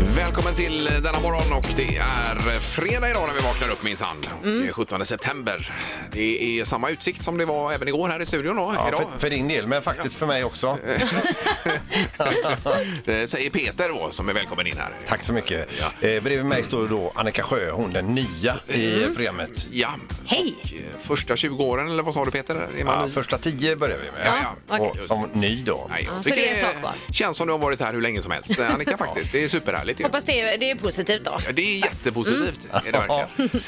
Välkommen till eh, denna morgon och det är eh, fredag idag när vi vaknar upp minsann. Och Mm. Det är 17 september. Det är samma utsikt som det var även igår här i studion då. Ja, idag. för, för din del, men faktiskt för mig också. Det Eh, säger Peter då som är välkommen in här. Tack så mycket. Ja. Eh, bredvid mig står då Annika Sjö, hon den nya i programmet. Ja. Hej. Och, eh, Första 20 åren eller vad sa du Peter? Är man Ja, ny? första tio börjar vi med. Ja, ja, okej. Och, som ny då. Nej, jag Ja, så tycker det är ett tag kvar. känns som du har varit här hur länge som helst eh, Annika faktiskt. Det är superhärligt ju. Hoppas det är, det är positivt då. Mm. Ja, Det är jättepositivt. Är det verkligen.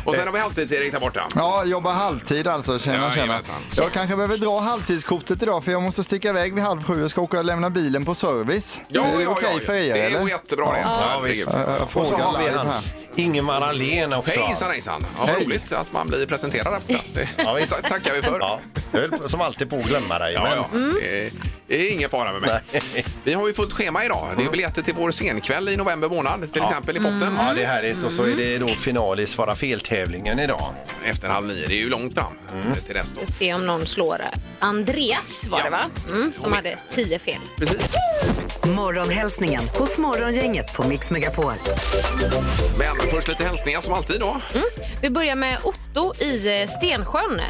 och sen har vi halvtids-Erik där borta. Ja, jobbar halvtid alltså. Ja, Tjena, tjena. jajamensan. Jag kanske behöver dra halvtidskortet idag för jag måste sticka iväg vid halv sju. Jag ska åka och lämna bilen på service. är det okej för er Det är eller? jättebra det. Ja, Herregud. visst. Jag Och så frågar har vi live han här. Ingemar Ahlén också. Hejsan hejsan! Ja, vad Hej. roligt att man blir presenterad där borta. Det Ja, visst. ta- tackar vi för. Ja, Mm. jag höll på- som alltid på att glömma dig. Ja, men- ja. Det är- Det är ingen fara med mig. Vi har ju fullt schema idag. Det är biljetter till vår scenkväll i november månad, till exempel i potten. Ja, det är härligt. Och så är det då final i Svara fel-tävlingen idag. Efter halv nio. Det är ju långt fram Mm. eh, till dess då. Vi får se om någon slår eh, Andreas var Ja. det va? Mm, som hade tio fel. Precis. Morgonhälsningen hos Morgongänget på Mix Megapol. Men först lite hälsningar som alltid då. Mm. Vi börjar med Otto i eh, Stensjön.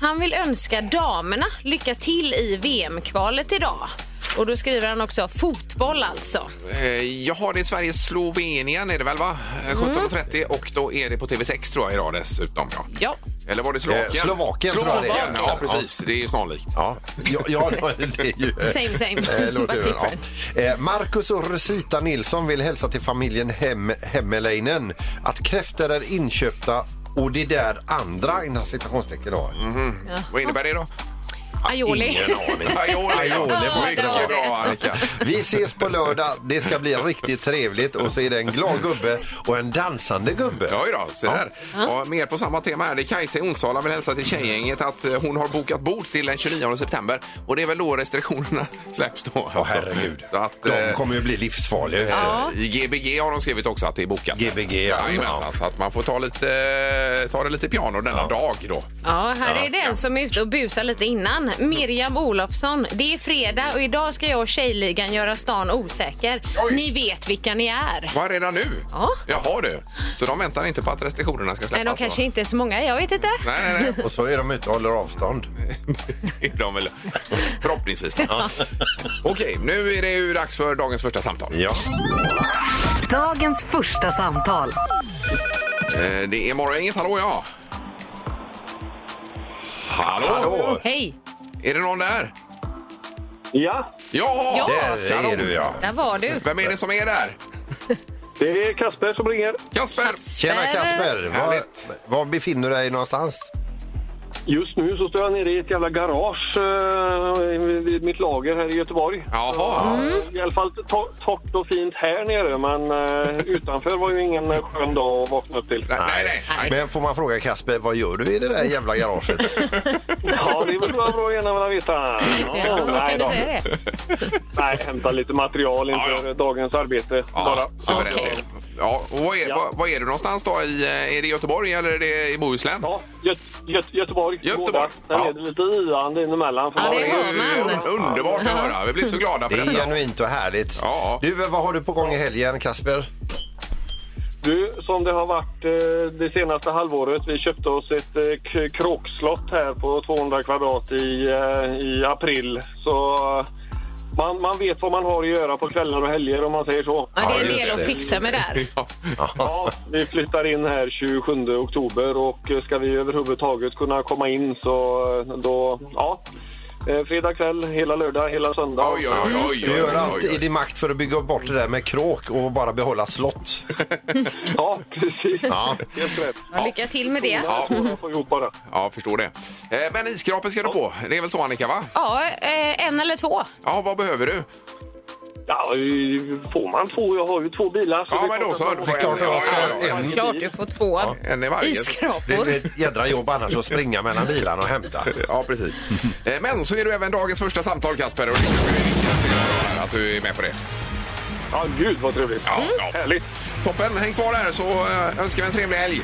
Han vill önska damerna lycka till i VM-kvalet idag. Och då skriver han också fotboll alltså. Eh, Jaha, det är Sverige-Slovenien är det väl va? Eh, 17.30 Mm. och då är det på TV6 tror jag idag dessutom. Ja. Ja, Eller var det Slovakien? Eh, Slovakien tror jag det är. Slovakien, ja precis. Det är ju snarlikt. Ja, ja, ja det är ju... same same. Eh, låter But ju, different. ja. Eh, Marcus och Rosita Nilsson vill hälsa till familjen Hem Hemmeleinen att kräftor är inköpta och det där andra inom citationstecken då. Mhm. Vad innebär det då? Aioli. Ingen aning. Aioli. Aioli, Ja, Mycket det var det. bra, Annika. Vi ses på lördag. Det ska bli riktigt trevligt. Och så är det en glad gubbe och en dansande gubbe. Ja, ju då, se där. Ja, mer på samma tema här. Det är Kajsa i Onsala vill hälsa till tjejgänget att eh, hon har bokat bord till den 29 september. Och det är väl då restriktionerna släpps då. alltså. Åh, herregud. Så att, De eh, kommer ju bli livsfarliga. Ja. I GBG har de skrivit också att det är bokat. GBG, ja. Jajamensan, Ja. Så att man får ta, lite, eh, ta det lite piano denna dag då. Ja, här är det en som är ute och busar lite innan. Miriam Olofsson. Det är fredag och idag ska jag och Tjejligan göra stan osäker. Oj. Ni vet vilka ni är. Var redan nu? Ja. Jaha du. Så de väntar inte på att restriktionerna ska släppas? Nej, de då? kanske inte är så många. Jag vet inte. alltså. Nej, nej, nej. Och så är de ute och håller avstånd. Det är de väl. Förhoppningsvis. då. Okej, nu är det ju dags för dagens första samtal. Ja. Dagens första samtal. Eh, Det är Morgongänget. Hallå, ja. Hallå. Hallå! Hej! Är det någon där? Ja, Ja! Ja. Där är du, ja. Där var du. Vem är det som är där? det är Kasper som ringer. Kasper! Tjena Kasper! Var, Härligt. var befinner du dig någonstans? Just nu så står jag nere i ett jävla garage eh, vid mitt lager här i Göteborg. Jaha. Mm. Mm. I alla fall to- torrt och fint här nere, men eh, utanför var ju ingen eh, skön dag att vakna upp till. Nej, nej, nej. nej. Men får man fråga Kasper, vad gör du i det där jävla garaget? Ja, det är väl bara bra att gärna vilja veta. Ja, Ja, kan nej, du då. säga det? nej, hämta lite material inför Ja, ja. dagens arbete. Ja, Bara. suveränt. Okej. Ja, och vad är, Ja. vad, vad är du någonstans då? I, eh, är det Göteborg eller är det i Bohuslän? Ja, Gö- Gö- Göteborg. Göteborg. Båda. Sen Ja. är det lite yande inemellan. för Ja, man- det hör man. un- underbart att höra. Vi blir så glada för Det är detta. genuint och härligt. Ja. Du, vad har du på gång i helgen Kasper? Du, som det har varit eh, det senaste halvåret. Vi köpte oss ett eh, k- kråkslott här på 200 kvadrat i, eh, i april. Så eh, man, man vet vad man har att göra på kvällar och helger om man säger så. Ja, det är en Ja, del just att det. fixa med där. Ja. Ja, vi flyttar in här 27 oktober och eh, ska vi överhuvudtaget kunna komma in så eh, då, ja. Eh, Fredag kväll, hela lördag, hela söndag. Oj, oj, oj, oj, Du oj, gör allt oj, i oj. din makt för att bygga bort det där med kråk och bara behålla slott. Ja, precis. Helt rätt. Ja, lycka till med det. Ja. Jag får ihop bara. Ja, jag förstår det. Eh, Men iskrapen ska du få. Det är väl så, Annika? va? Ja, eh, en eller två. Ja, vad behöver du? Ja, får man två? Jag har ju två bilar. Ja, det är men klart då att så. man Du får får en. en. Ja, ja, ja. en, Klart du får två En i varje. det isskrapor. blir ett jädra jobb annars att springa mellan bilarna och hämta. Ja, precis. Eh, Men så är du även dagens första samtal, Kasper. Och det är ju viktigast det är att du är med på det. Ja, gud vad trevligt. Ja, ja. Härligt. Toppen, häng kvar där så eh, önskar vi en trevlig helg.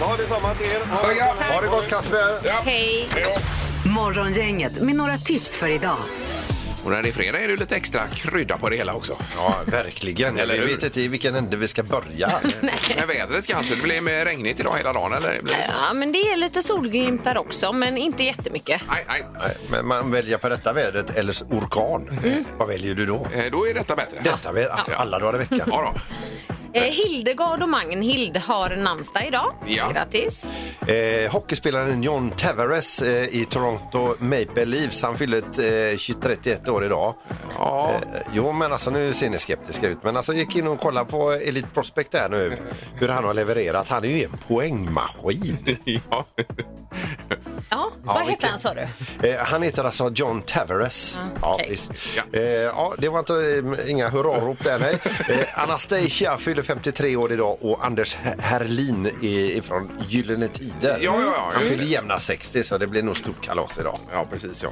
Ja, detsamma till er. Ha det Ja, gott. Ha det gott Kasper! Hej. Hej då. Morgongänget med några tips för idag. Och när det är fredag är det lite extra krydda på det hela också. Ja, verkligen. Eller Eller hur? vi vet inte i vilken ände vi ska börja. Med vädret kanske, det blir mer regnigt idag hela dagen eller? Blir det så? Ja, men det är lite solglimtar också, men inte jättemycket. Nej, nej. Men man väljer på detta vädret eller s- orkan. Mm. Vad väljer du då? Eh, Då är detta bättre. Detta vädret, alla dagar i veckan. Ja, då. Eh, Hildegard och Magnhild har namnsdag idag. Ja. Grattis. Eh, hockeyspelaren John Tavares eh, i Toronto Maple Leafs, han fyller ett, eh, 31 år idag. Ja. Eh, jo, men alltså nu ser ni skeptiska ut. Men alltså gick in och kollade på Elite Prospect där nu, hur han har levererat. Han är ju en poängmaskin. ja. Ja, vad hette vilken- han sa du? Eh, han heter alltså John Tavares. Ja, Ah, okej. visst. Ja. Eh, ja, det var inte, eh, inga hurrarop där, nej. Eh, Anastasia fyller 53 år idag och Anders Her- Herlin är från Gyllene Tider. Ja, ja, ja, han just fyller det. jämna 60 så det blir nog stort kalas idag. Ja, precis. Ja.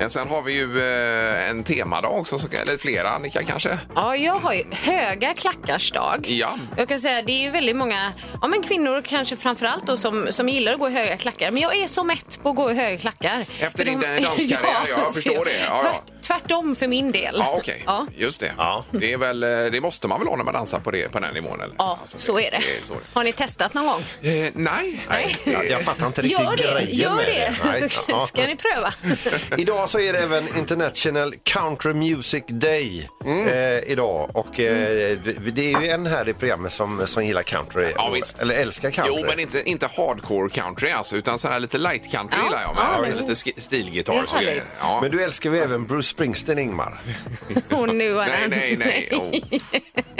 Eh, Sen har vi ju eh, en temadag också, så- eller flera Annika kanske. Ja, jag har ju höga klackars dag. Ja. Jag kan säga det är ju väldigt många, ja men kvinnor kanske framförallt då som, som gillar att gå i höga klackar. Men jag är så mätt på att gå i höga klackar. Efter För din, eh, danskarriär, ja, jag förstår så- det. Ja, ja. tvärt- Tvärtom för min del. Ja, okej. Ja. Just det. Ja. Det, är väl, eh, det måste man väl ha när man dansar på, det, på den nivån? Eller? Ja, Alltså, så är det. så är det. Har ni testat någon gång? Eh, nej. Nej. Jag, jag fattar inte riktigt Gör det, grejen gör med det. Nej, Så ja. ska ni pröva. Idag så är det även International Country Music Day Mm. eh, idag och eh, vi- det är ju en här i programmet som, som gillar country, Ja, visst. eller älskar country. Jo, men inte, inte hardcore country alltså, utan sån här lite light country Ja, gillar jag. ja, Med, men- lite sk- Det stilgitarr är och så grejer. härligt. Ja. Men du älskar ju även Bruce Springsteen, Ingmar. Och nu har Nej, den- nej, nej. Oh.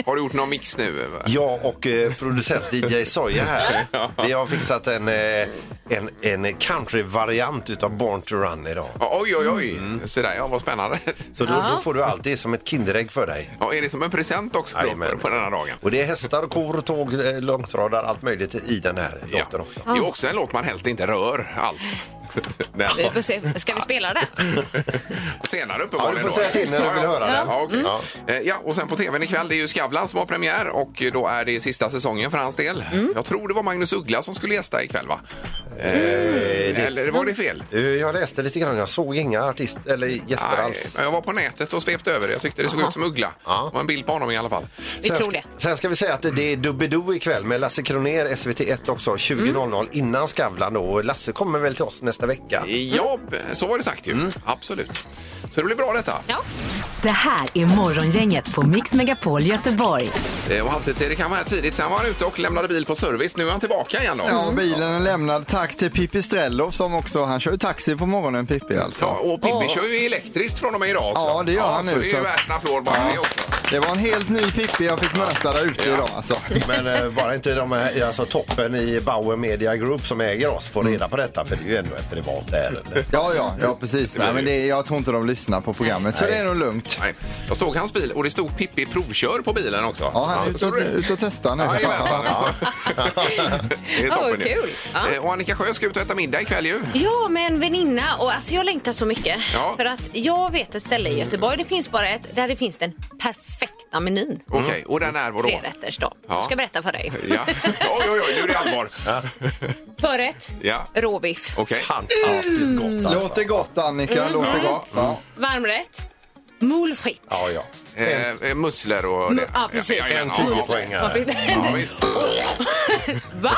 Har du gjort någon mix nu? va? Jag och eh, producent DJ Soja här. Vi har fixat en, eh, en, en country-variant utav Born to Run idag. Oj, oj, oj. Mm. Så där, ja, vad spännande. Så då, då får du alltid som ett Kinderägg för dig. Ja, är det som en present också då, Jajamän. på, på den här dagen? Och det är hästar, kor, tåg, eh, långtradar, allt möjligt i den här Ja. låten också. Det är också en låt man helst inte rör alls. Den. Vi får se. Ska vi spela den? Senare Ja, uppenbarligen. du får då. säga till när du vill höra den. Ja, okej. Mm. Ja. Eh, ja, och sen på tvn ikväll, det är ju Skavlan som har premiär och då är det sista säsongen för hans del. Jag tror det var Magnus Uggla som skulle gästa ikväll va? Mm. Eh, Eller var det fel? Eh, Jag läste lite grann, jag såg inga artister eller gäster Nej, alls. men jag var på nätet och svepte över det. Jag tyckte det såg ut som Uggla. Ja. Det var en bild på honom i alla fall. Vi sen, tror ska- det. Sen ska vi säga att det är Doobidoo ikväll med Lasse Kroner SVT1 Mm. också 20.00 innan Skavlan då. Och Lasse kommer väl till oss nästa vecka. Ja, så var det sagt ju. Mm. Absolut. Så det blir bra detta. Ja. Det här är Morgongänget på Mix Megapol Göteborg. Eh, Och Halvtids-Erik han var här tidigt, sen var han ute och lämnade bil på service. Nu är han tillbaka igen då. Mm. Ja, bilen är lämnad. Tack till Pippi Strello som också, han kör ju taxi på morgonen Pippi alltså. Ja, och Pippi kör ju elektriskt från och med idag också. Ja, det gör han så nu, det är ju så- värt en applåd bara det också. Det var en helt ny Pippi jag fick möta där ute idag alltså. Men eh, bara inte de här, alltså toppen i Bauer Media Group som äger oss får reda på detta för det är ju ändå ett privat ärende. Ja, ja, ja precis. Nej, men det, jag tror inte de lyssnar på programmet så det är nog lugnt. Nej. Jag såg hans bil och det stod Pippi provkör på bilen också. Ja, han är ute såg och, du det? ut och testar nu. Jajamensan. Det är Ja, vad toppen ju. kul. Ja. Mm. Eh, Och Annika Sjö ska ut och äta middag ikväll ju. Ja, med en väninna. Och alltså, jag längtar så mycket. Ja. För att jag vet ett ställe i Göteborg, det finns bara ett, där det finns den perfekta menyn. Okej, och den är vadå? Trerätters då. Ja. Jag ska berätta för dig. Ja. Oj, oj, oj, nu är det allvar. Förrätt, Ja. råbiff. Okej. Fantastiskt gott alltså. Låter gott Annika, Mm-hmm. låter gott. Ja. Varmrätt, moule frites. Ja, ja. Eh, eh, musslor och det. Mm, Ja, precis. jajamän, En ja, ja. tiopoängare. Varför inte? Ja, visst. Va?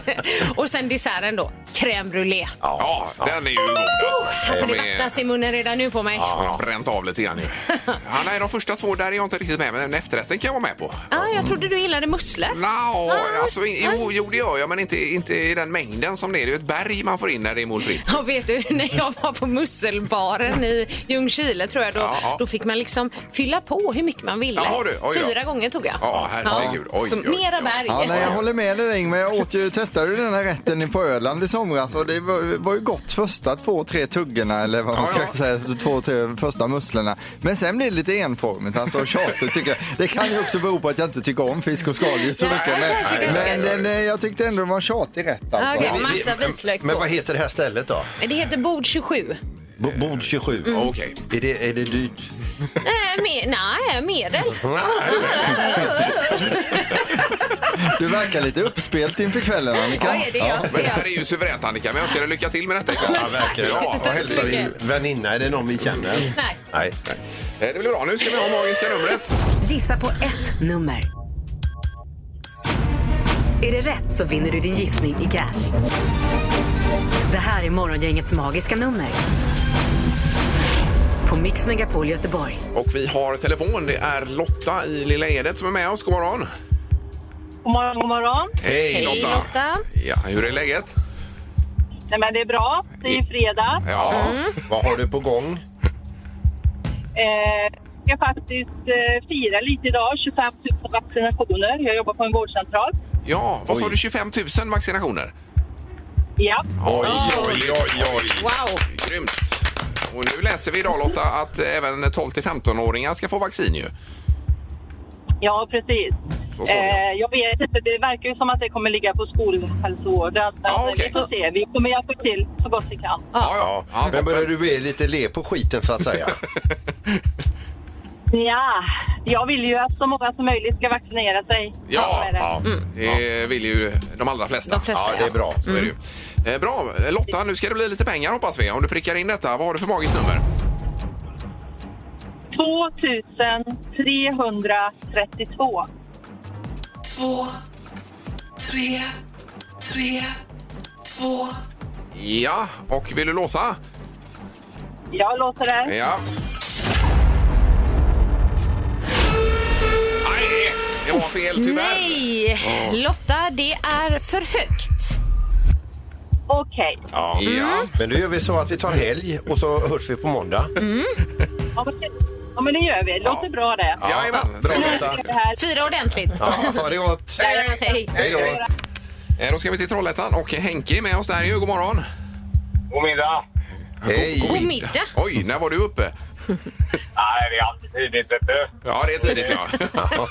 och sen desserten då, crème brûlée. Ja, den är ju god alltså. Alltså Som det är- vattnas i munnen redan nu på mig. Ja, han har bränt av lite grann ju. Ja, nej, de första två där är jag inte riktigt med, men efterrätten kan jag vara med på. Ah, jag trodde du gillade musslor. No, Nej, alltså, i- jo, nej. jo, det gör jag, men inte, inte i den mängden som det är. Det är ju ett berg man får in när det är målfritt. Ja, vet du, när jag var på musselbaren i Ljungskile tror jag, då, Ja, ja. då fick man liksom fylla på hur mycket man ville. Jaha, du. Oj då. Fyra gånger tog jag. Ja, herregud. Oj, Så oj, oj. Mera berg. Ja, nej, jag håller med dig Ingmar. Jag åt ju, testade ju den här rätten på Öland i somras och det var, var ju gott första två, tre tuggorna eller vad man Ja, ska ja. säga, två, tre första musslorna. Men sen blir det lite enformigt alltså och tjatigt tycker jag. Det kan ju också bero på att jag inte tycker om fisk och skaldjur så Nej, mycket. nej, Men, nej, nej. men den, eh, jag tyckte ändå den var tjatig rätt alltså. Okej, massa vitlök Men på. vad heter det här stället då? Det heter bord 27. B- Bord 27. Okej. Är, det, är det dyrt? Eh, me- nej, medel. Du verkar lite uppspelt inför kvällen Annika. Ja, det är jag. Men det här är ju suveränt Annika, men jag önskar dig lycka till med detta ikväll. Ja, verkligen. Ja, Och hälsa din väninna, är det någon vi känner? Nej. Nej. Eh, Det blir bra. Nu ska vi ha magiska numret. Gissa på ett nummer. Är det rätt så vinner du din gissning i cash. Det här är Morgongängets magiska nummer. På Mix Megapol Göteborg. Och vi har telefon. Det är Lotta i Lilla Edet som är med oss. God morgon. God morgon, god morgon. Hej Hej Lotta. Ja, hur är läget? Nej, men det är bra. Det är fredag. Ja. Vad har du på gång? Eh, jag ska faktiskt eh, fira lite idag. 25 000 vaccinationer. Jag jobbar på en vårdcentral. Ja, vad sa du? 25 000 vaccinationer? Ja. Oj, oj, oj, oj. Wow. Grymt. Och nu läser vi idag Lotta att även 12 till 15-åringar ska få vaccin ju. Ja, precis. Så småningom. Eh, jag vet inte, det verkar ju som att det kommer ligga på skolhälsovården. Men Ja, Ah, okej. vi får se. Vi kommer hjälpa till så gott vi kan. Ja, ja. ja Men toppen. börjar du bli lite le på skiten så att säga? Ja, jag vill ju att så många som möjligt ska vaccinera sig. Ja, är det. ja. det vill ju de allra flesta. De flesta, ja, det är ja. bra. Så är det ju. Eh, Bra. Lotta, nu ska det bli lite pengar hoppas vi. Om du prickar in detta, vad har du för magiskt nummer? 2332. Ja, och vill du låsa? Jag låter det. Ja. Nej, det var fel tyvärr. Nej, Lotta, det är för högt. Okej. Ja. Ja. Men då gör vi så att vi tar helg och så hörs vi på måndag. Ja, men det- ja, men det gör vi. Låter bra det. Jajamän, bra Lotta. Det här Fira ordentligt. Ja, ha det gott! Hej. Hej då! Eh, Då ska vi till Trollhättan och Henke är med oss där ju. God morgon. God middag! God Hej! middag. Oj, när var du uppe? Nej, det är alltid tidigt, vet du. Ja, det är tidigt ja.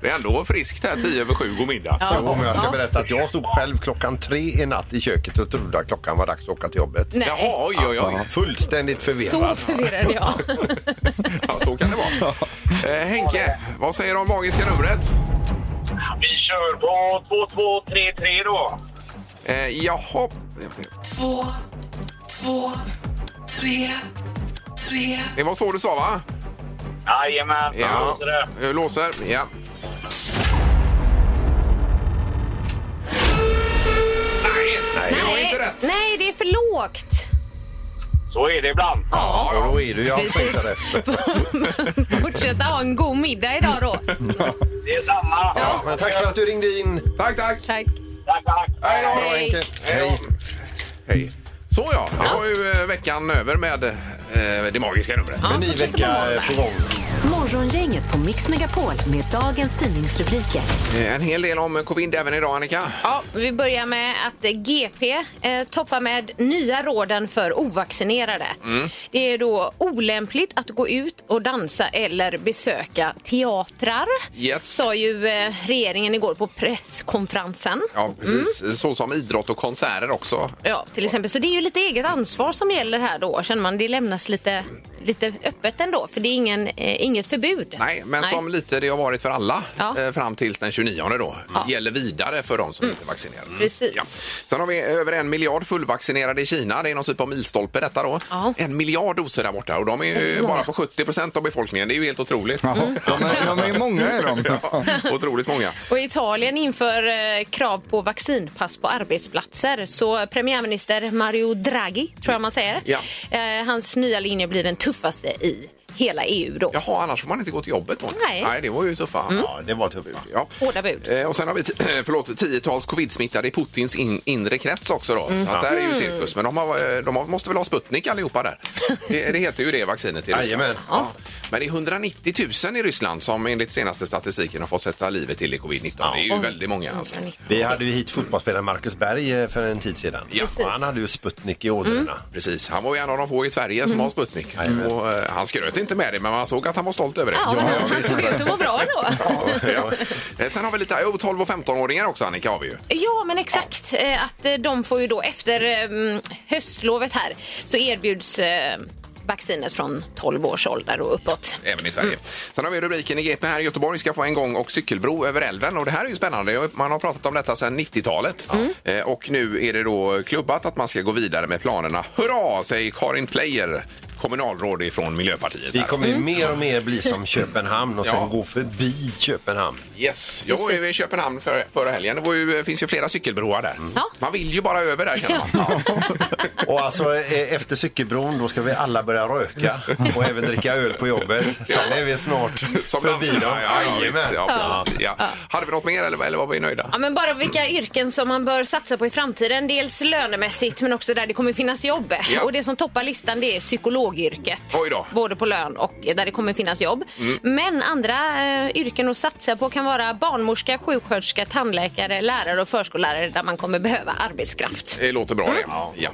Det är ändå friskt här, tio över sju, god middag. Jo, men jag ska berätta att jag stod själv klockan tre i natt i köket och trodde att klockan var dags att åka till jobbet. Nej. Jaha, oj, oj, oj. Fullständigt Så förvirrad. förvirrad jag. Ja, så kan det vara. Eh, Henke, vad säger du om magiska numret? Vi kör på 2233 då. Eh, jaha. Det var så du sa, va? Jajamän, Ja. Jag låser. Ja. Nej, nej, det var inte rätt. Nej, det är för lågt. Så är det ibland. Ja, och då är du jag Precis. tänkte det. Fortsätta ha en god middag idag då. Det är samma. Ja, men tack för att du ringde in. Tack, tack. Tack. Tack, tack. Hej då. Hej. Henke. Hej. Hej. Så ja, det var ju eh, veckan över med eh, det magiska numret. En ny vecka är på gång. Morgongänget på Mix Megapol med dagens tidningsrubriker. Eh, En hel del om covid även idag, Annika. Ja, vi börjar med att GP eh, toppar med nya råden för ovaccinerade. Mm. Det är då olämpligt att gå ut och dansa eller besöka teatrar. Yes. Sa ju eh, regeringen igår på presskonferensen. Ja, precis. Så som idrott och konserter också. Ja, till exempel. Så det är ju lite eget ansvar som gäller här då. Känner man det lämnas lite, lite öppet ändå för det är ingen, eh, inget förbud. Nej, men som lite det har varit för alla Ja. eh, fram till den 29 då. Ja. Mm. Gäller vidare för de som inte är vaccinerade. Precis. Ja. Sen har vi över en miljard fullvaccinerade i Kina. Det är någon typ av milstolpe detta då. Ja. En miljard doser där borta och de är ju bara på 70 procent av befolkningen. Det är ju helt otroligt. Ja, de, är, de är många är de. Mm. Ja, otroligt många. Och Italien inför eh, krav på vaccinpass på arbetsplatser. Så premiärminister Mario Draghi, tror jag man säger, Ja. eh, hans nya linje blir den tuffaste i hela EU då. Jaha, annars får man inte gå till jobbet då? Nej. Mm. det var ju tuffa. Ja, det var tufft. Ja. Hårda bud. Eh, Och sen har vi t- förlåt, tiotals covid-smittade i Putins in, inre krets också. Då. Så att där är ju cirkus. Men de, har, eh, de har, måste väl ha Sputnik allihopa där? Det, det heter ju det vaccinet i Ryssland. Jajamän. Ja. Men det är 190 000 i Ryssland som enligt senaste statistiken har fått sätta livet till i covid-19. Det är ju väldigt många. Mm. Alltså. Vi hade ju hit fotbollsspelaren Marcus Berg eh, för en tid sedan. Ja. Mm. Och han hade ju Sputnik i ådrorna. Precis, han var ju en av de få i Sverige som har Sputnik. Och, eh, han skröt inte inte med det, men man såg att han var stolt över det. Ja, men han såg ut att må bra ändå. ja. Eh, Sen har vi lite jo, 12 och 15-åringar också, Annika. Har vi ju. Ja, men exakt. Eh, Att eh, de får ju då efter eh, höstlovet här så erbjuds eh, vaccinet från 12 års ålder och uppåt. Även i Sverige. Sen har vi rubriken i GP här. Göteborg ska få en gång och cykelbro över älven. Och det här är ju spännande. Jag- Man har pratat om detta sedan 90-talet. Eh, Och nu är det då klubbat att man ska gå vidare med planerna. Hurra, säger Karin Player, kommunalråd ifrån Miljöpartiet. Vi här. kommer ju mer och mer bli som Köpenhamn och sen Ja. gå förbi Köpenhamn. Yes, jag var ju i Köpenhamn för, förra helgen. Det var ju, finns ju flera cykelbroar där. Ja. Man vill ju bara över där känner man. Och alltså eh, efter cykelbron då ska vi alla börja röka och även dricka öl på jobbet. Sen är vi snart Som förbi dem. danskarna, Ja, ja, visst. Jajamän. ja, precis. ja. Hade vi något mer eller, eller var vi nöjda? Ja, men bara vilka yrken som man bör satsa på i framtiden. Dels lönemässigt, men också där det kommer finnas jobb. Ja. Och det som toppar listan det är psykologyrket. Oj då. Mm. Både på lön och där det kommer finnas jobb. Men andra eh, yrken att satsa på kan vara barnmorska, sjuksköterska, tandläkare, lärare och förskollärare där man kommer behöva arbetskraft. Det låter bra det. Ja.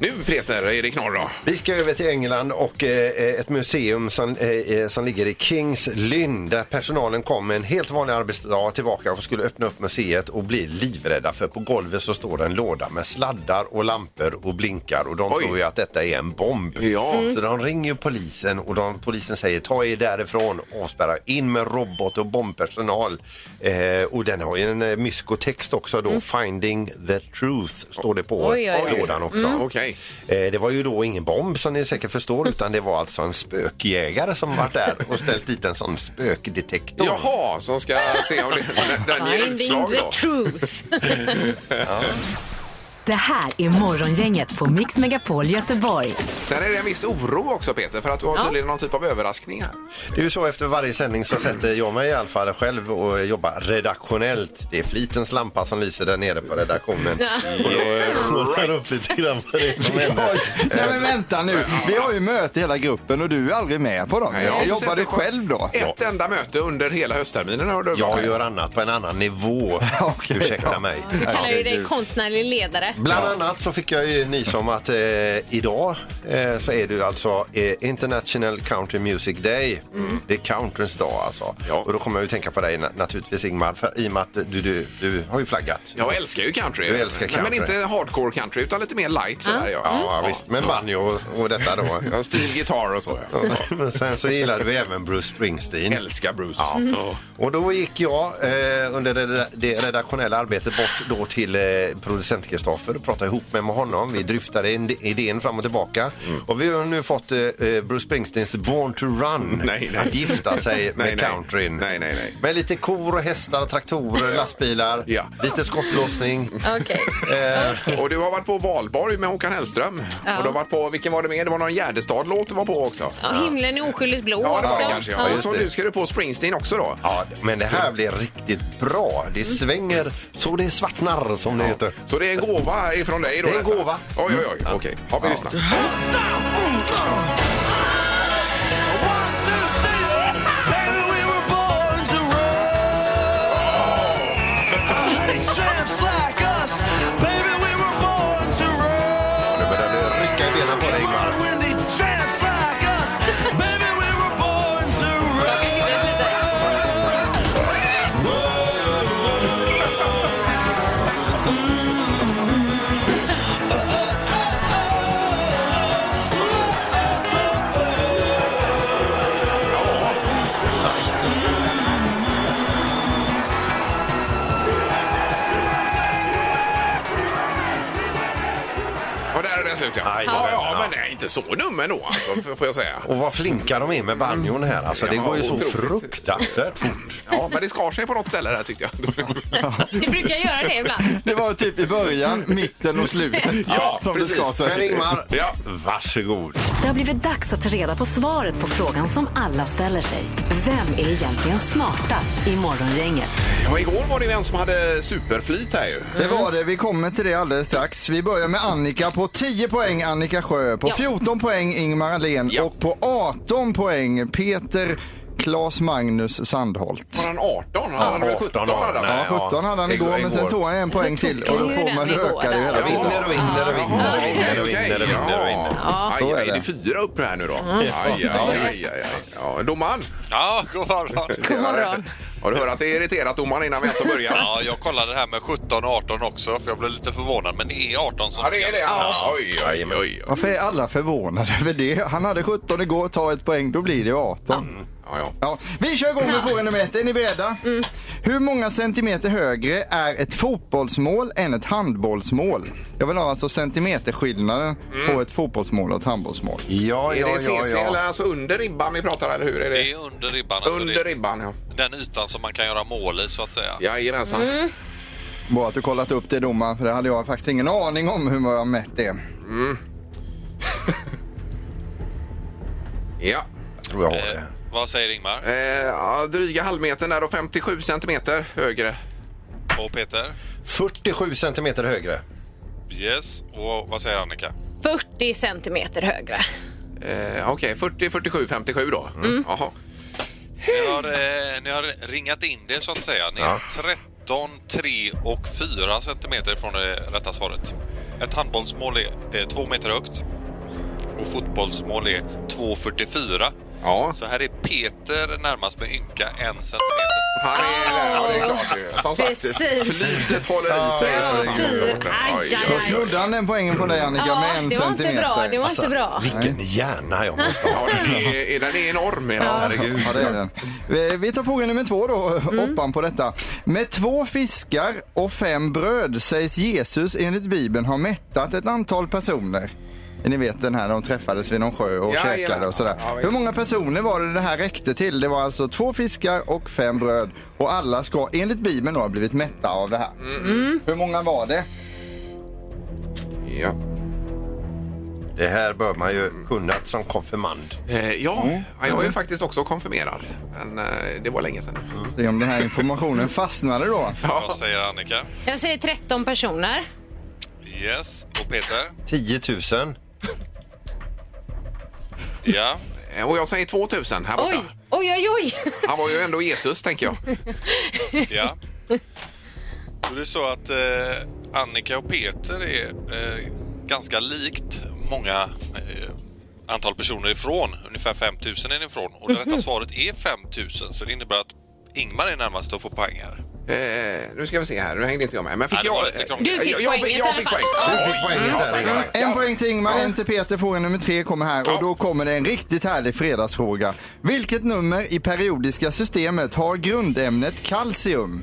Nu Peter, är det knorr då? Vi ska över till England och eh, ett museum som, eh, eh, som ligger i Kings Lynn där personalen kom en helt vanlig arbetsdag tillbaka och skulle öppna upp museet och bli livrädda för på golvet så står en låda med sladdar och lampor och blinkar och de Oj. tror ju att detta är en bomb. Ja. Mm. Så de ringer polisen och de, polisen säger ta er därifrån och spärra in med robot och bombpersonal. Eh, och den har ju en eh, myskotext också då, Finding the Truth står det på Mm. Oj, oj, Mm. oj. lådan också. Okej. Eh, Det var ju då ingen bomb som ni säkert förstår utan det var alltså en spökjägare som varit där och ställt dit en sån spökdetektor. Jaha, som ska se om det, den ger Finding utslag the då. truth. Det här är Morgongänget på Mix Megapol Göteborg. Sen är det en viss oro också Peter, för att du har tydligen någon typ av överraskning här. Det är ju så efter varje sändning så sätter jag mig i alla fall själv och jobbar redaktionellt. Det är flitens lampa som lyser där nere på redaktionen. Och då eh, kollar jag upp lite grann vad det är som händer. Oj, nej men vänta nu. Vi har ju möte hela gruppen och du är aldrig med på dem. Nej, jag har inte Jobbar sett du det på- själv då? Ett enda möte under hela höstterminen har du Jag gör annat på en annan nivå. Okej, Ursäkta ja. mig. kallar ju dig herregud. konstnärlig ledare. Bland annat så fick jag ju nys om att eh, idag eh, så är det ju alltså eh, International Country Music Day. Det är countryns dag alltså. Mm. Ja. Och då kommer jag ju tänka på dig na- naturligtvis Ingmar, för, i och med att du, du, du har ju flaggat. Jag älskar ju country. Du älskar Men country. inte hardcore country, utan lite mer light sådär. Ja, Ja, visst, med banjo och, och detta då. Ja, stil gitarr och så. Ja. Men Sen så gillade vi även Bruce Springsteen. Älskar Bruce. Mm. Ja. Och då gick jag eh, under det, reda- det redaktionella arbetet bort då till eh, producent Kristoffer och pratade ihop mig med honom. Vi dryftade in, idén fram och tillbaka. Mm. Och vi har nu fått eh, eh, Bruce Springsteens Born to Run Nej, nej. att gifta sig Nej, med nej. countryn. Nej, nej, nej. Med lite kor och hästar, traktorer, lastbilar, Ja. lite skottlossning. Okej. Eh, Och du har varit på Valborg med Håkan Hellström. Och du har varit på, vilken var det mer? Det var någon Gärdestad-låt du var på också. Ja, himlen är oskyldigt blå Ja, det var också. det kanske. Ja, Ja. Och just så det. nu ska du på Springsteen också då. ja, men det här blir riktigt bra. Det Mm. svänger så det svartnar, som det heter. Så det är en gåva ifrån dig då? Det är en detta? gåva. Oj, oj, oj. Okej, har vi lyssnat? Nu börjar det rycka i benen på dig, Ingmar. Jag kan hitta lite. Och där är den slut, ja. Aj, ja, ja. ja, men det är inte så nummer då, alltså, f- får jag säga. Och vad flinka de är med banjon här. Alltså, det Ja, går ju så otroligt. fruktansvärt fort. Ja, men det skar sig på något ställe där tyckte jag. Det brukar göra det ibland. Det var typ i början, mitten och slutet som det ska Men sig. Ingmar, Ja. varsågod. Det har blivit dags att ta reda på svaret på frågan som alla ställer sig. Vem är egentligen smartast i Morgongänget? ja, igår var det ju en som hade superflyt här ju. Det var det. Vi kommer till det alldeles strax. Vi börjar med Annika på 10 poäng, Annika Sjö. På Ja. 14 poäng, Ingmar Ahlén. Ja. Och på 18 poäng, Peter Claes Magnus Sandholt. Var han 18? Han hade väl 17 18, hade han? nej. Ja, 17 hade han igår, men sen tog han en poäng till och ju då får den man igår öka det där. hela Jag tiden. vinner och vinner och vinner och vinner och vinner och vinner. Och vinner. Aj, Så är aj, det. det är fyra upp här nu då. Aj, aj, aj, aj, aj. Ja, domaren! Ja, god morgon. God morgon. Har du hört att det är irriterat domaren innan vi ens har börjat? Ja, jag kollade det här med 17 och 18 också för jag blev lite förvånad. Men det är 18 som Ja, det är det. Ja. Oj, oj, oj, oj. Varför är alla förvånade över det? Han hade 17 igår, ta ett poäng, då blir det 18. Ja, ja. Ja, vi kör igång med fråga nummer ett. Är ni beredda? Mm. Hur många centimeter högre är ett fotbollsmål än ett handbollsmål? Jag vill ha alltså centimeterskillnaden på ett fotbollsmål och ett handbollsmål. Ja, Är ja, det ja, CC eller ja. alltså under ribban vi pratar eller hur? Är Det det? är under ribban. Alltså Under det är ribban, ja. den ytan som man kan göra mål i så att säga. Jajamensan. Mm. Bra att du kollat upp det domaren, för det hade jag faktiskt ingen aning om hur man har mätt det. Ja. Jag tror jag har Eh, det. vad säger Ingmar Eh, ja, dryga halvmetern där och 57 centimeter högre. Eh. och Peter? 47 centimeter högre. Yes. Och vad säger Annika? 40 centimeter högre. Eh, Okej, 40, 47, 57 då. Mm. Mm. Jaha. Ni har, eh, ni har ringat in det så att säga. Ni är 13, 3 och 4 centimeter från det rätta svaret. Ett handbollsmål är eh, 2 meter högt och fotbollsmål är 2,44. Ja, Så här är Peter närmast med ynka 1 centimeter. han är, ja, det är klart. Som sagt, Precis. flytet håller i sig. Ja, Alltså, han är fyra. borta. Aj, Oj, aj, oj. Då snuddade han den poängen från dig Annika Ja, med en det var inte centimeter. bra. Det var Alltså. inte bra. Vilken hjärna jag måste ha. Ja, den är, den är enorm. Ja. Herregud. Mm. Ja, det är den. Vi- Vi tar fråga nummer två då, hoppan på detta. Med två fiskar och fem bröd sägs Jesus enligt Bibeln ha mättat ett antal personer. Ni vet den här de träffades vid någon sjö och Ja, käkade ja. och sådär. Ja, visst. Hur många personer var det det här räckte till? Det var alltså två fiskar och fem bröd och alla ska enligt Bibeln då ha blivit mätta av det här. Mm, Hur många var det? Ja. Det här bör man ju kunnat som konfirmand. Eh, ja. Mm. ja, jag är ju faktiskt också konfirmerad. Men eh, det var länge sedan. Se om den här informationen fastnade då. Ja. Vad säger Annika? Jag säger 13 personer. Yes. Och Peter? 10 000. Ja. Eh, Och jag säger 2000 här borta. Oj, oj, oj, oj. Han var ju ändå Jesus, tänker jag. Ja. Då är det så att eh, Annika och Peter är eh, ganska likt många eh, antal personer ifrån. Ungefär 5000 är ni ifrån och det rätta svaret är 5000 så det innebär att Ingmar är närmast att få poäng här. Eh, nu ska vi se här, nu hängde inte jag med. Men fick Ja, det var jag... lite krångligt. Du fick jag, jag, poänget i jag alla fick fall. Mm. poäng. Du fick poänget där Ingmar. En poäng till Ingmar, en till Peter. Fråga nummer tre kommer här och då kommer det en riktigt härlig fredagsfråga. Vilket nummer i periodiska systemet har grundämnet kalcium?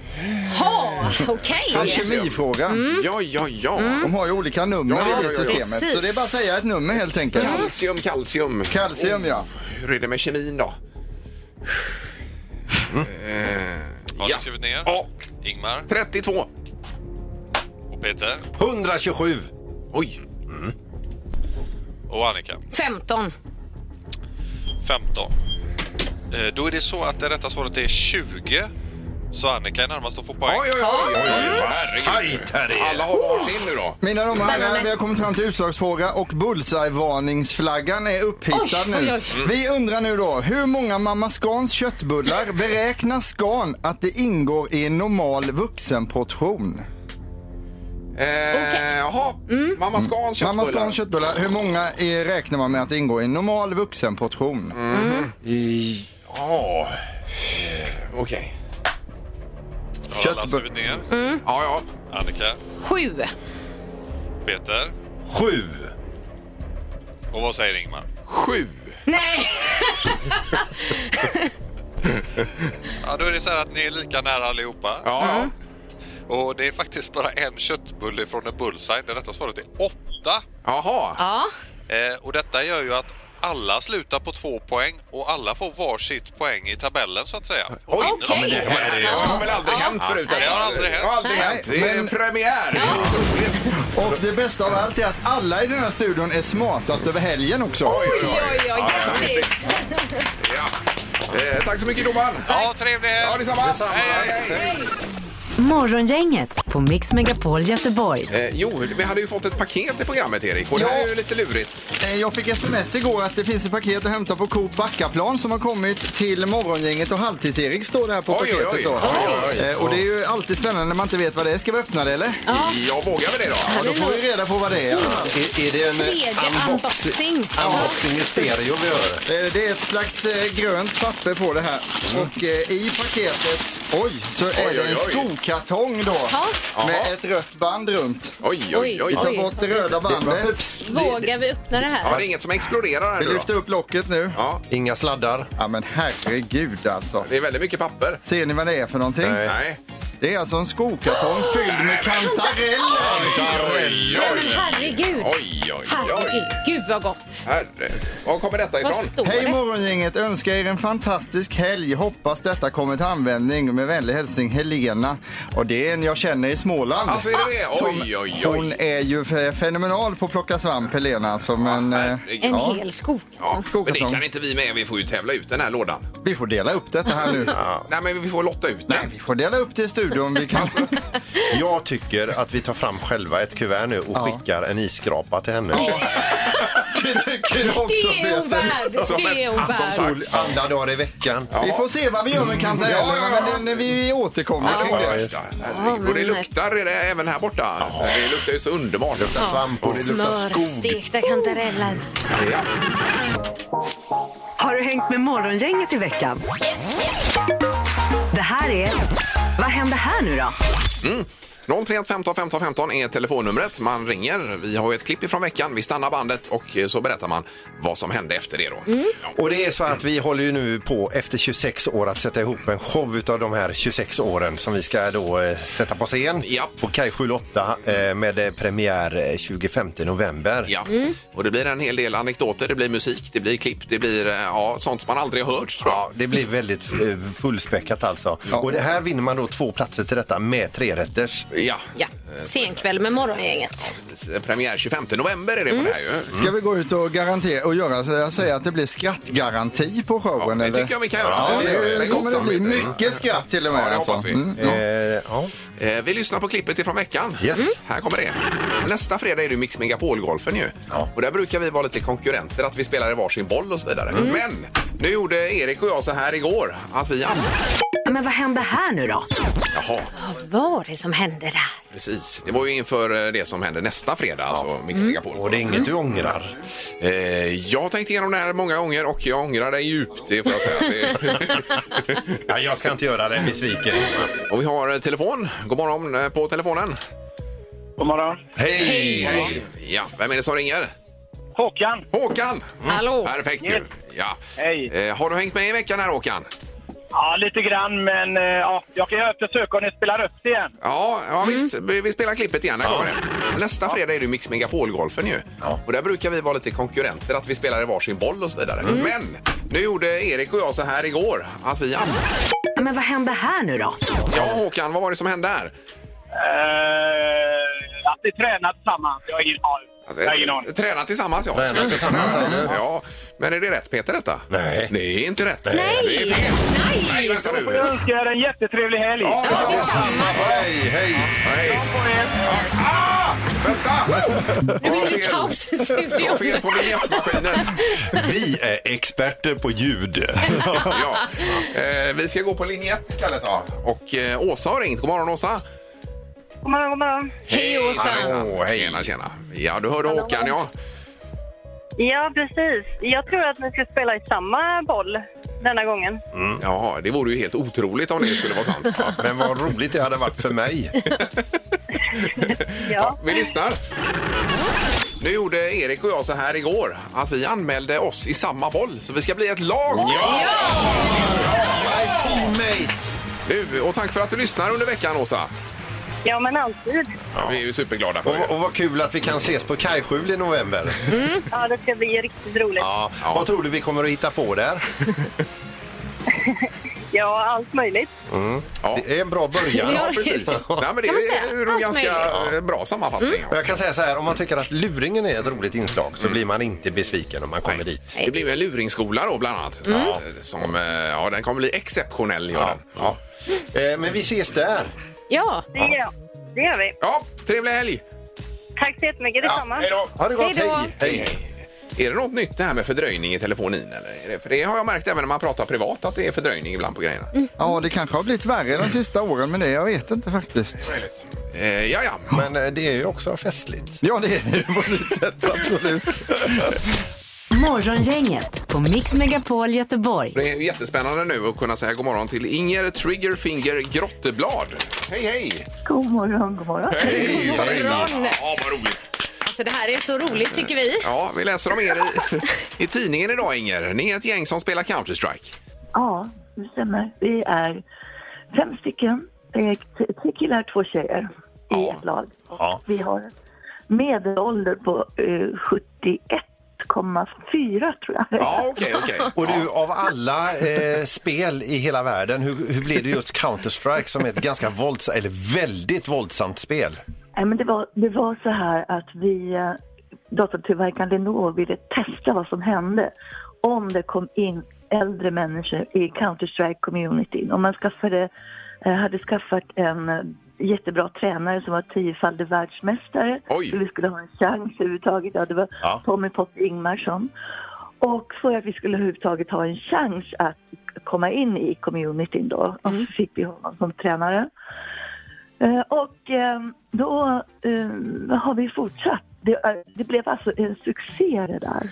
Ha, okej. En kemifråga. Ja, ja, ja. De har ju olika nummer Ja, ja, i ja, det ja. systemet. Mm. Precis. Så det är bara att säga ett nummer helt enkelt. Kalcium, kalcium. Kalcium ja. Hur är det med kemin då? Mm. Har Eh, Ja. ni skrivit ner? Ja. Ingmar 32. och Peter 127. Oj. och Annika 15. 15. Eh, då är det så att det rätta svaret är 20 så Annika är närmast att få poäng. Oj, oj, oj. oj, oj. Tajt här är Alla har varsin nu då. Mina damer och herrar, Spännande. vi har kommit fram till utslagsfråga och bullseye-varningsflaggan är upphissad Oj, nu. oj, Mm. Vi undrar nu då, hur många Mamma Scans köttbullar beräknar Scan att det ingår i en normal vuxenportion? Eh, Jaha. Mamma Scan Mamma köttbullar. Scans köttbullar, hur många eh, räknar man med att det ingår i en normal vuxenportion? Mm, Ja. Okej. Har alla skrivit ner? Ja, ja. Annika, 7. Peter 7. och vad säger Ingmar? Sju. Nej, Ja, då är det så här att ni är lika nära allihopa. Ja. Och det är faktiskt bara en köttbulle från en bullseye. Det rätta svaret är åtta. Jaha. ja. Eh, och detta gör ju att alla slutar på två poäng och alla får varsitt poäng i tabellen så att säga. Och vinner Okej. de i det. här det har väl aldrig hänt förut? Nej, det har aldrig hänt. Det har aldrig Nej, hänt. Det är men- premiär. Det är otroligt. Och det bästa av allt är att alla i den här studion är smartast över helgen också. Oj, oj, oj. Grattis. Ja. Eh, tack så mycket domaren. Ja, trevlig helg! Ja, detsamma. Hej, hej, hej. Morgongänget på Mix Megapol Göteborg. Eh, jo, vi hade ju fått ett paket i programmet, Erik. Och det här är ju lite lurigt. Eh, Jag fick sms igår att det finns ett paket att hämta på Coop Backaplan som har kommit till morgongänget och halvtids-Erik står det här på Oj, oj, paketet. oj. Då. Oj, oj, oj. Eh, Och det är ju alltid spännande när man inte vet vad det är. Ska vi öppna det eller? Ja. vågar väl det då? Ja, då får vi reda på vad det är. i alla fall. Är, är det en Tredje eh, unboxing. Ja. unboxing i stereo vi gör? Eh, Det är ett slags eh, grönt papper på det här. Och eh, i paketet, oj, så är Mm. Oj, det en oj, oj. skokartong då. Ja. Med Jaha. ett rött band runt. Oj, oj, oj. Vi tar Oj. bort det röda bandet. Vågar vi öppna det här? Ja, det är inget som exploderar typ här Vi nu då. lyfter upp locket nu. Ja, Inga sladdar. Ja men herregud alltså. det är väldigt mycket papper. Ser ni vad det är för någonting? Nej. Nej. Det är alltså en skokartong fylld med kantareller. Oj, Nej, oj, men herregud. oj, oj, Herregud, oj. Gud vad gott. Herre. Var kommer detta Vad ifrån? står Hej det? morgongänget! Önskar er en fantastisk helg. Hoppas detta kommer till användning. Med vänlig hälsning Helena. Och det är en jag känner i Småland. Alltså, är det det? Ah. Som- Oj, oj, Hon oj. är ju fe- fenomenal på att plocka svamp Helena. Alltså, men eh, Herregud. En Ja. hel skog. Ja, men det skokartong. kan inte vi med. Vi får ju tävla ut den här lådan. vi får dela upp detta här nu. Nej, men vi får lotta ut Nej, den. vi får dela upp det i studion. Vi kan... Jag tycker att vi tar fram själva ett kuvert nu och Ja. skickar en isskrapa till henne. det tycker jag också Det är hon Peter. värd. Det är hon Som en- värd. Sol andra dagar i veckan. Vi får se vad vi gör med kantarellerna. Ja, ja, ja. Men den, vi återkommer Ja, det till var det det. värsta. Herregud. Och det men- luktar är det även här borta. Det luktar ju så underbart. Svamp och det luktar Smör, skog. stekta kantareller. Har du hängt med Morgongänget i veckan? Det här är... Vad händer här nu då? 031 15 15 15 är telefonnumret. Man ringer. Vi har ju ett klipp ifrån veckan. Vi stannar bandet och eh, så berättar man vad som hände efter det. Då. Ja. Och det är så att vi håller ju nu på efter 26 år att sätta ihop en show utav de här 26 åren som vi ska då eh, sätta på scen Japp. på Kaj 78 eh, med eh, premiär eh, 25 november. Ja. Och det blir en hel del anekdoter, det blir musik, det blir klipp, det blir eh, ja, sånt som man aldrig har hört. tror jag. Ja, det blir väldigt eh, fullspäckat alltså. Och det här vinner man då två platser till detta med trerätters. Ja. Ja, senkväll med morgongänget. S- Premiär 25 november är det på det här ju. Ska vi gå ut och garantera och göra så jag säger att det blir skrattgaranti på Ja, showen? det eller? tycker jag vi kan göra. Ja, Det gör vi. det, Men kommer gott det som bli lite. mycket skratt till och Ja, med. det alltså. hoppas vi. Mm. Eh, ja. Eh, Vi lyssnar på klippet ifrån veckan. Mm. Yes. Här kommer det. Nästa fredag är det ju Mix Megapol-golfen ju. Ja. Och där brukar vi vara lite konkurrenter, att vi spelar i varsin boll och så vidare. Men nu gjorde Erik och jag så här igår att vi... Men vad händer här nu då? Jaha, Vad var det som hände där? precis. Det var ju inför eh, det som händer nästa fredag, alltså Mix Megapol. Mm. Och det är inget du ångrar. Eh, jag har tänkt igenom det här många gånger och jag ångrar det djupt. Det får jag säga. Det... Ja, jag ska inte göra det, besviken. och vi har eh, telefon. God morgon eh, på telefonen. God morgon. Hej! Hej! Ja, vem är det som ringer? Håkan! Håkan! Hallå. Perfekt ju. Yes. Ja. Hej. Eh, har du hängt med i veckan här Håkan? Ja, lite grann, men eh, ja, jag kan ju försöka om ni spelar upp det igen. Ja, ja visst. Vi vi spelar klippet igen. Här kommer det. Nästa fredag är det ju Mix Megapol-golfen ju. Ja. Och där brukar vi vara lite konkurrenter, att vi spelar i varsin boll och så vidare. Men nu gjorde Erik och jag så här igår att vi... Men vad händer här nu då? Ja, Håkan, vad var det som hände här? Eh, att vi tränar tillsammans, jag har ingen aning. Jag har ingen aning. Alltså, Träna tillsammans, ja. Träna tillsammans, ja. Men är det rätt, Peter, detta? Nej. Det är inte rätt. Det är Nej! fel. Nej, Nej! vänta Då nu. får jag önska er en jättetrevlig helg. Ja, Ja, ja. detsamma. Hej, hej, hej. På er. Ah! Vänta! Nu blir det kaos i Jag har fel studion. på biljettmaskinen. Vi är experter på ljud. ja. eh, vi ska gå på linje 1 istället då. Och eh, Åsa har ringt. God morgon Åsa! God morgon, god morgon. Hej Åsa! Åh, hej! Tjena, tjena. Ja, du hörde Håkan ja. Ja, precis. Jag tror att ni ska spela i samma boll denna gången. Mm. Jaha, det vore ju helt otroligt om det skulle vara sant. Ja. Men vad roligt det hade varit för mig. Ja. Vi lyssnar. Nu gjorde Erik och jag så här igår att vi anmälde oss i samma boll så vi ska bli ett lag. Ja! Du, och tack för att du lyssnar under veckan Åsa. Ja, men alltid. Vi är ju superglada för Och, det. och vad kul att vi kan ses på Kajskjul i november. Mm. Ja, det ska bli riktigt roligt. Ja, Ja. Vad tror du vi kommer att hitta på där? allt möjligt. Ja. Det är en bra början. Ja, precis. Nej, men det Kan man säga? är ju en Allt Mm. ganska bra sammanfattning. Och jag kan säga så här, om man tycker att luringen är ett roligt inslag Mm. så blir man inte besviken om man kommer dit. Det blir ju en luringskola då bland annat. Ja, som, eh, ja, den kommer bli exceptionell. Gör den. Eh, Men vi ses där. Ja, Det gör, jag. det gör vi. Ja, trevlig helg! Tack så jättemycket. Detsamma. hej då! Ha det gott, Hej då. hej! Hej, hej. Är det något nytt det här med fördröjning i telefonin? Eller? Är det- För det har jag märkt även när man pratar privat att det är fördröjning ibland på grejerna. Ja, det kanske har blivit värre de sista åren med det. Jag vet inte faktiskt. Eh, ja, ja. Men eh, det är ju också festligt. Ja, det är det ju på sitt sätt, absolut. Morgongänget på Mix Megapol Göteborg. Det är ju jättespännande nu att kunna säga god morgon till Inger Triggerfinger Grotteblad. Hej, hej! God morgon, god morgon. Hej! hejsan, morgon. hejsan. Ja, vad roligt! alltså det här är så roligt tycker vi. Ja, vi läser om er i, i tidningen idag, Inger. Ni är ett gäng som spelar Counter-Strike. Ja, det stämmer. Vi är fem stycken. Det är t- tre killar, två tjejer i Ja. ett lag. Ja. Vi har en medelålder på eh, 71,4 tror jag. Ja, okej, okej. Och du, av alla eh, spel i hela världen, hur, hur blev det just Counter-Strike som är ett ganska våldsamt, eller väldigt våldsamt spel? Nej, men det, var, det var så här att vi, eh, datortillverkaren Lenovo ville testa vad som hände om det kom in äldre människor i Counter-Strike-communityn. Om man skaffade, eh, hade skaffat en eh, jättebra tränare som var tiofaldig världsmästare. Oj. Så vi skulle ha en chans överhuvudtaget. Ja, det var Ja. Tommy Pop Ingmarsson. Och för att vi skulle överhuvudtaget ha en chans att komma in i communityn då, och så fick vi honom som tränare. Eh, Och eh, då eh, har vi fortsatt. Det, är- det blev alltså en succé det där.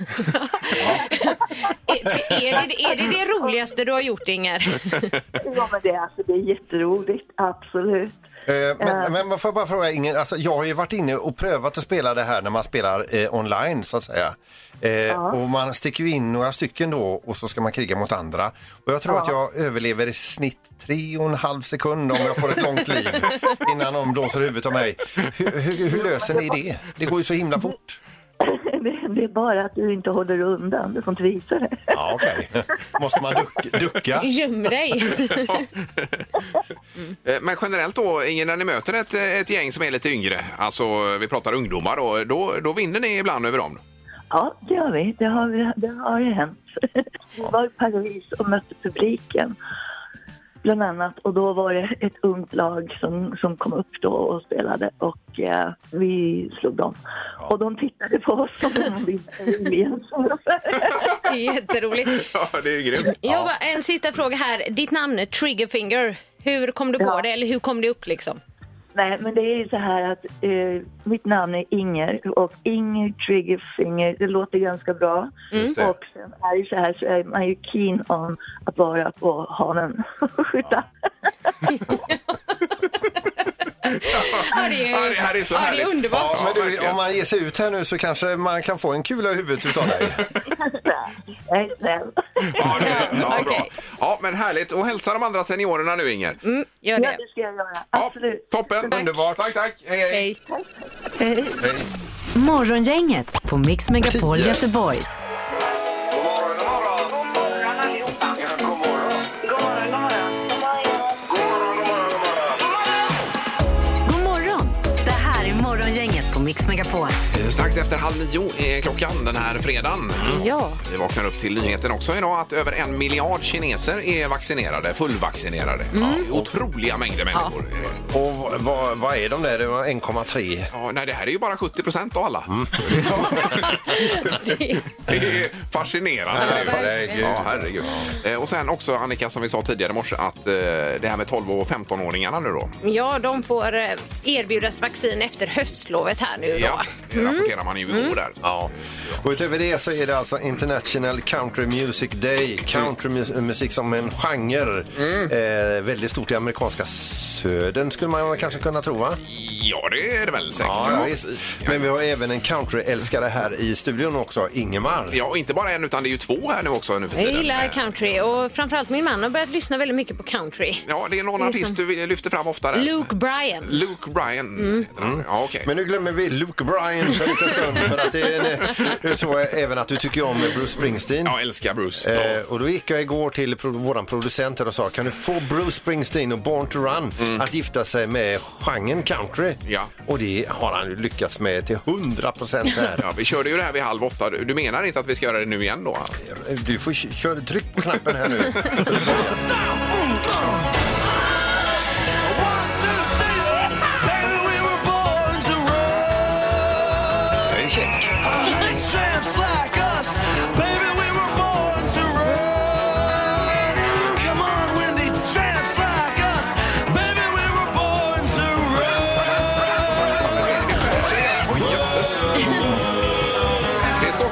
Är, ty- är, det, är det det roligaste du har gjort Inger? Ja, men det, är- alltså, det är jätteroligt, absolut. Eh, Men, men man får jag bara fråga Ingen, alltså, jag har ju varit inne och prövat att spela det här när man spelar eh, online så att säga. Eh, Och man sticker ju in några stycken då och så ska man kriga mot andra. Och jag tror att jag överlever i snitt tre och en halv sekund om jag får ett långt liv innan de blåser huvudet av mig. Hur, hur, hur löser ni det? Det går ju så himla fort. Det, det är bara att du inte håller undan, du får inte visa det. Ja, okej. Måste man duck, ducka? Göm dig. Eh, Men generellt då, Inger, när ni möter ett, ett gäng som är lite yngre, alltså vi pratar ungdomar, då, då, då vinner ni ibland över dem. Ja, det har vi. Det har, vi- det har ju hänt. Vi var i Paris och mötte publiken. Bland annat, och då var det ett ungt lag som, som kom upp då och spelade och eh, vi slog dem. Och de tittade på oss som om vi var aliens. Det är jätteroligt. Ja, det är grymt. Jag bara, en sista fråga här. Ditt namn, Triggerfinger. Hur kom du på Ja. det? Eller hur kom det upp liksom? Nej, men det är ju så här att eh, mitt namn är Inger och Inger Triggerfinger, det låter ganska bra. Mm. Just det. Och sen är det så här så är man ju keen om att vara på hanen och skjuta. Ja, det är, Ja, det här är så ja, det härligt. är underbart. Ja, men du, verkligen. om man ger sig ut här nu så kanske man kan få en kula i huvudet utav dig. Jag är snäll. Ja, det är, ja, bra. Okej. ja, men härligt. Och hälsa de andra seniorerna nu, Inger. Mm, gör Ja, det. det ska jag göra. Ja, Absolut. Toppen! Tack. Underbart! Tack, tack! Hej, hej. Hej. Morgongänget på Mix Megapol Tio. Göteborg. God morgon, god morgon. God morgon allihopa. Ja, god morgon. God morgon, god God morgon. God morgon, god morgon. God morgon, god morgon. morgon! Det här är Morgongänget på Mix Megapol. Eh, Strax efter halv nio är klockan den här fredagen. Mm. Ja. Vi vaknar upp till nyheten också idag att över en miljard kineser är vaccinerade, fullvaccinerade. Ja, det är otroliga mängder människor. Och vad- vad, vad är de där? Det var 1,3. Ja, nej, det här är ju bara 70 procent av alla. Ja. det är fascinerande. Ja, herregud. Ja, herregud. Eh, Och sen också, Annika, som vi sa tidigare i morse, att eh, det här med 12 och 15-åringarna nu då. ja, de får eh, erbjudas vaccin efter höstlovet här nu då. Ja, det rapporterar man ju igår där. Ja. Och utöver det så är det alltså International Country Music Day. Countrymusik som en genre. Mm. Eh, väldigt stort i amerikanska södern skulle man kanske kunna tro va? ja, det är det väl säkert. visst. Men vi har även en countryälskare här i studion också, Ingemar. Ja, och inte bara en, utan det är ju två här nu också nu för Jag tiden. gillar Eh, country och framförallt min man har börjat lyssna väldigt mycket på country. Ja, det är någon Det är artist du som- vill- lyfter fram ofta där. Luke Mm. Bryan. Luke Bryan heter han. Ja, okej. Men nu glömmer vi Luke Bryan för en liten stund för att det är, en, det är så även att du tycker om Bruce Springsteen. Jag älskar Bruce. Eh, och då gick jag igår till pro- våran producent här och sa kan du få Bruce Springsteen och Born to Run att gifta sig med genren country? Mm. Ja. Och det har han ju lyckats med till 100 procent här. Ja, vi körde ju det här vid halv åtta. Du du menar inte att vi ska göra det nu igen då? Du får kö- köra, tryck på knappen här nu. One, two, three.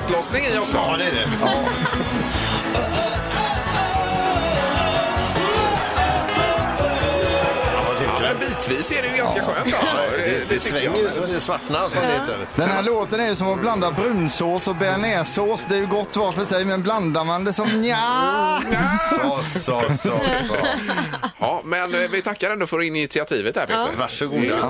tävling i också. Ja, det är det. Ja, men bitvis är det ju ganska skönt. Alltså. Det, det tycker jag. svänger ju så det svartnar som det heter. Den här låten är ju som att blanda brunsås och bearnaisesås. Det är ju gott var för sig, men blandar man det som nja. Så, så, så, så. Ja, men eh, vi tackar ändå för initiativet här Peter. Varsågoda.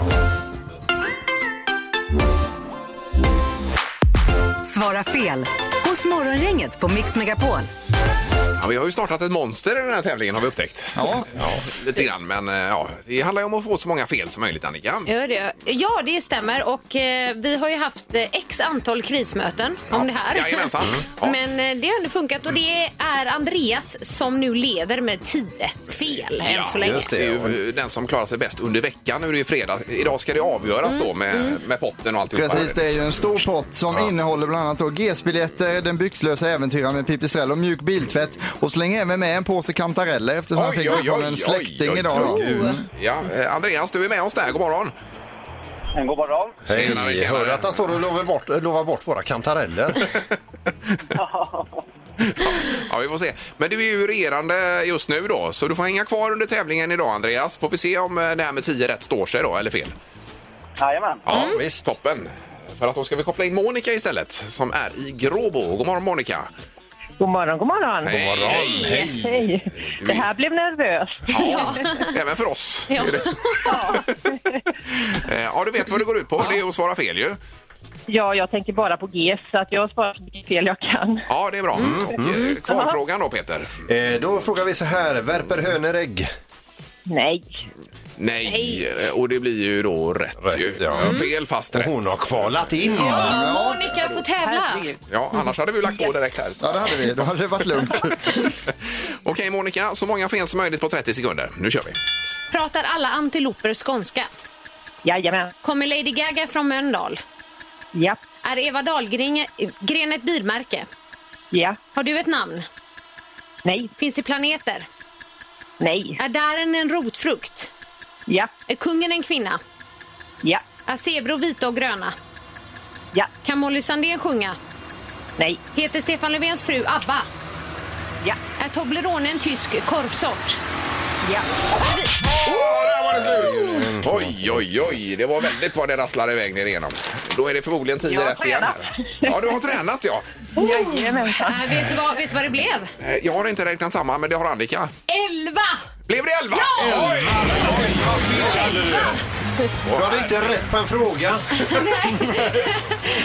Svara fel hos Morgongänget på Mix Megapol. Ja, vi har ju startat ett monster i den här tävlingen har vi upptäckt. Ja. lite grann. Men eh, ja, det handlar ju om att få så många fel som möjligt Annika. Ja det, ja, det stämmer. Och eh, vi har ju haft eh, x antal krismöten om det här. Jajamensan. Ja. Men eh, det har ändå funkat och det är Andreas som nu leder med 10 fel än så länge. just Det är ju eh, den som klarar sig bäst under veckan. Nu är det ju fredag. Idag ska det avgöras Mm, då med, med potten och alltihopa. Precis, det är ju en stor pott som innehåller bland annat då GS-biljetter, Den byxlösa äventyraren med Pippi Strell och mjuk biltvätt. Och släng även med en påse kantareller eftersom han Oj, fick oj, den från oj, en oj, släkting oj, idag. då. gud. Ja, eh, Andreas, du är med oss där. God morgon. God morgon. Tjenare, Hej, tjenare. hörde att han står och lovar bort, lovar bort våra kantareller. Ja, vi får se. Men du är ju regerande just nu då, så du får hänga kvar under tävlingen idag Andreas. Får vi se om eh, det här med 10 rätt står sig då, eller fel. Jajamän. Ja, visst. Toppen. För att då ska vi koppla in Monica istället, som är i Gråbo. God morgon Monica. God morgon, god morgon. Hej, hej. Hej. Det här blev nervöst. Ja, även för oss. Ja. Är det. Eh, ja, du vet vad det går ut på. Det är att svara fel ju. Ja, jag tänker bara på GS, så att jag svarar så mycket fel jag kan. Ja, det är bra. Och, eh, kvalfrågan då, Peter? Eh, då frågar vi så här, värper hönor ägg? Nej. Nej. Eh, Och det blir ju då rätt. Rätt, ju. ja. Mm. Fel fast rätt. Hon har kvalat in. Monica får tävla. Herregud. Ja, annars hade vi lagt på direkt här. Ja, det hade vi. Då hade det varit lugnt. Okej, Monica. Så många fel som möjligt på 30 sekunder. Nu kör vi. Pratar alla antiloper skånska? Jajamän. Kommer Lady Gaga från Mölndal? Ja. Är Eva Dahlgren Gren ett bilmärke? Ja. Har du ett namn? Nej. Finns det planeter? Nej. Är dären en rotfrukt? Ja. Är kungen en kvinna? Ja. Är Äh, zebror vita och gröna? Ja. Kan Molly Sandén sjunga? Nej. Heter Stefan Löfvens fru Abba? Ja. Är Toblerone en tysk korvsort? Ja. Åh, där var det slut! Oj, oj, oj. Det var väldigt vad det rasslade iväg ner igenom. Då är det förmodligen 10 har rätt igen. här. Ja, du har tränat, ja. Jajamensan. Nej, Äh, vet, du vad, vet du vad det blev? Eh, Jag har inte räknat samman, men det har Annika. Elva! Blev det 11? Ja! Oj, oj, vad fel! Du hade inte rätt på en fråga. Nej,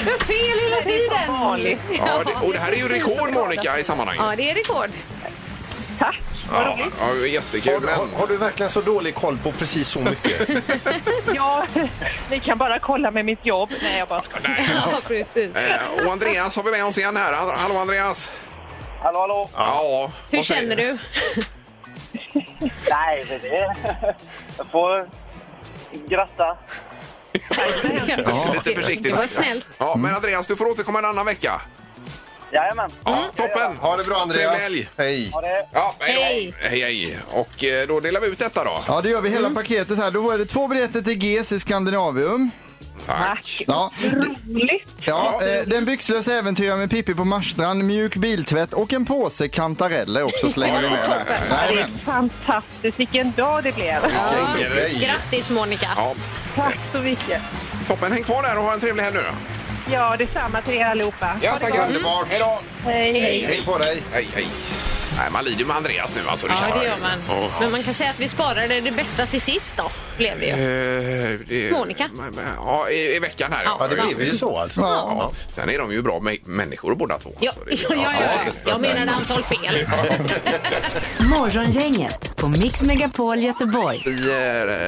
jag har fel hela tiden. vanligt. Ja, det, och det här är ju rekord, Monica, i Ja, sammanhanget. det är rekord. Tack. Vad Ja, roligt. ja, jättekul. Har, har, Men, har du verkligen så dålig koll på precis så mycket? Ja, ni kan bara kolla med mitt jobb. Nej, jag bara skojar. Ja, precis. eh, och Andreas har vi med oss igen här. Hallå, Andreas! Hallå, hallå. Ja. Hur vad säger- känner du? Nej, men det... Jag får gratta. Lite försiktigt. Det var snällt. Ja, men Andreas, du får återkomma en annan vecka. Jajamän. Ja, Toppen! Ha det bra Andreas. Trevlig helg. Hej. Ha det. Ja, hej, Hej. då. hej, hej. Och eh, då delar vi ut detta då. Ja, det gör vi Mm. hela paketet här. Då är det två biljetter till GS i Skandinavium. Tack. Ja, Roligt. ja eh, Den byxlösa äventyraren med Pippi på Marstrand, mjuk biltvätt och en påse kantareller också slänger vi med. Toppen. Nej, Det är men. fantastiskt. Vilken dag det blev. Ja. Vilken grej. Grattis Monica. Ja, Tack så mycket. toppen, häng kvar där och ha en trevlig helg nu. då. Ja, detsamma till er allihopa. Ja, tackar. Underbart. Hej då. Hej, hej. Hej på dig. Hej, hej. Nej, man lider med Andreas nu alltså. Ja, kan det gör man. Ja. Men man kan säga att vi sparade det bästa till sist då, blev det ju. Eh, det- Monica. Ja, i, i veckan här. Ja, det blev ju så alltså. Ja. Sen är de ju bra mä- människor båda två. Ja, alltså. Det ja, är- ja, ja. Jag menade antal fel. Morgongänget på Mix Megapol Göteborg. Vi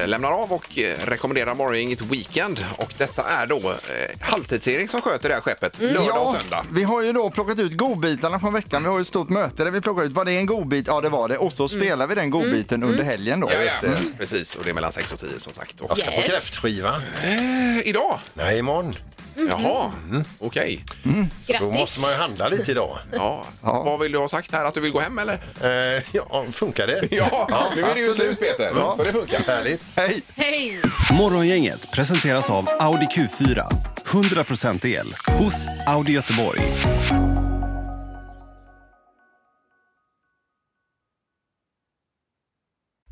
eh, lämnar av och eh, rekommenderar Morgongänget Weekend. Och detta är då eh, Halvtids-Erik som sköter det här skeppet lördag och söndag. Mm. vi har ju då plockat ut godbitarna från veckan. Vi har ju ett stort möte där vi plockar ut, var det en godbit? Ja, det var det. Och så spelar vi den godbiten under helgen då. Mm. Ja, ja. Mm, Precis, och det är mellan 6 och 10 som sagt. Och, Jag ska på Yes. kräftskiva. Eh, Idag? Nej, imorgon. Mm-hmm. Jaha, okej. Då måste Grattis. man ju handla lite idag. Ja. Vad vill du ha sagt här? Att du vill gå hem eller? Eh, ja, funkar det? Ja, nu är det ju absolut. slut Peter. Ja. Så det funkar. Härligt. Hej! Hej! Morgongänget presenteras av Audi Q4. 100% el hos Audi Göteborg.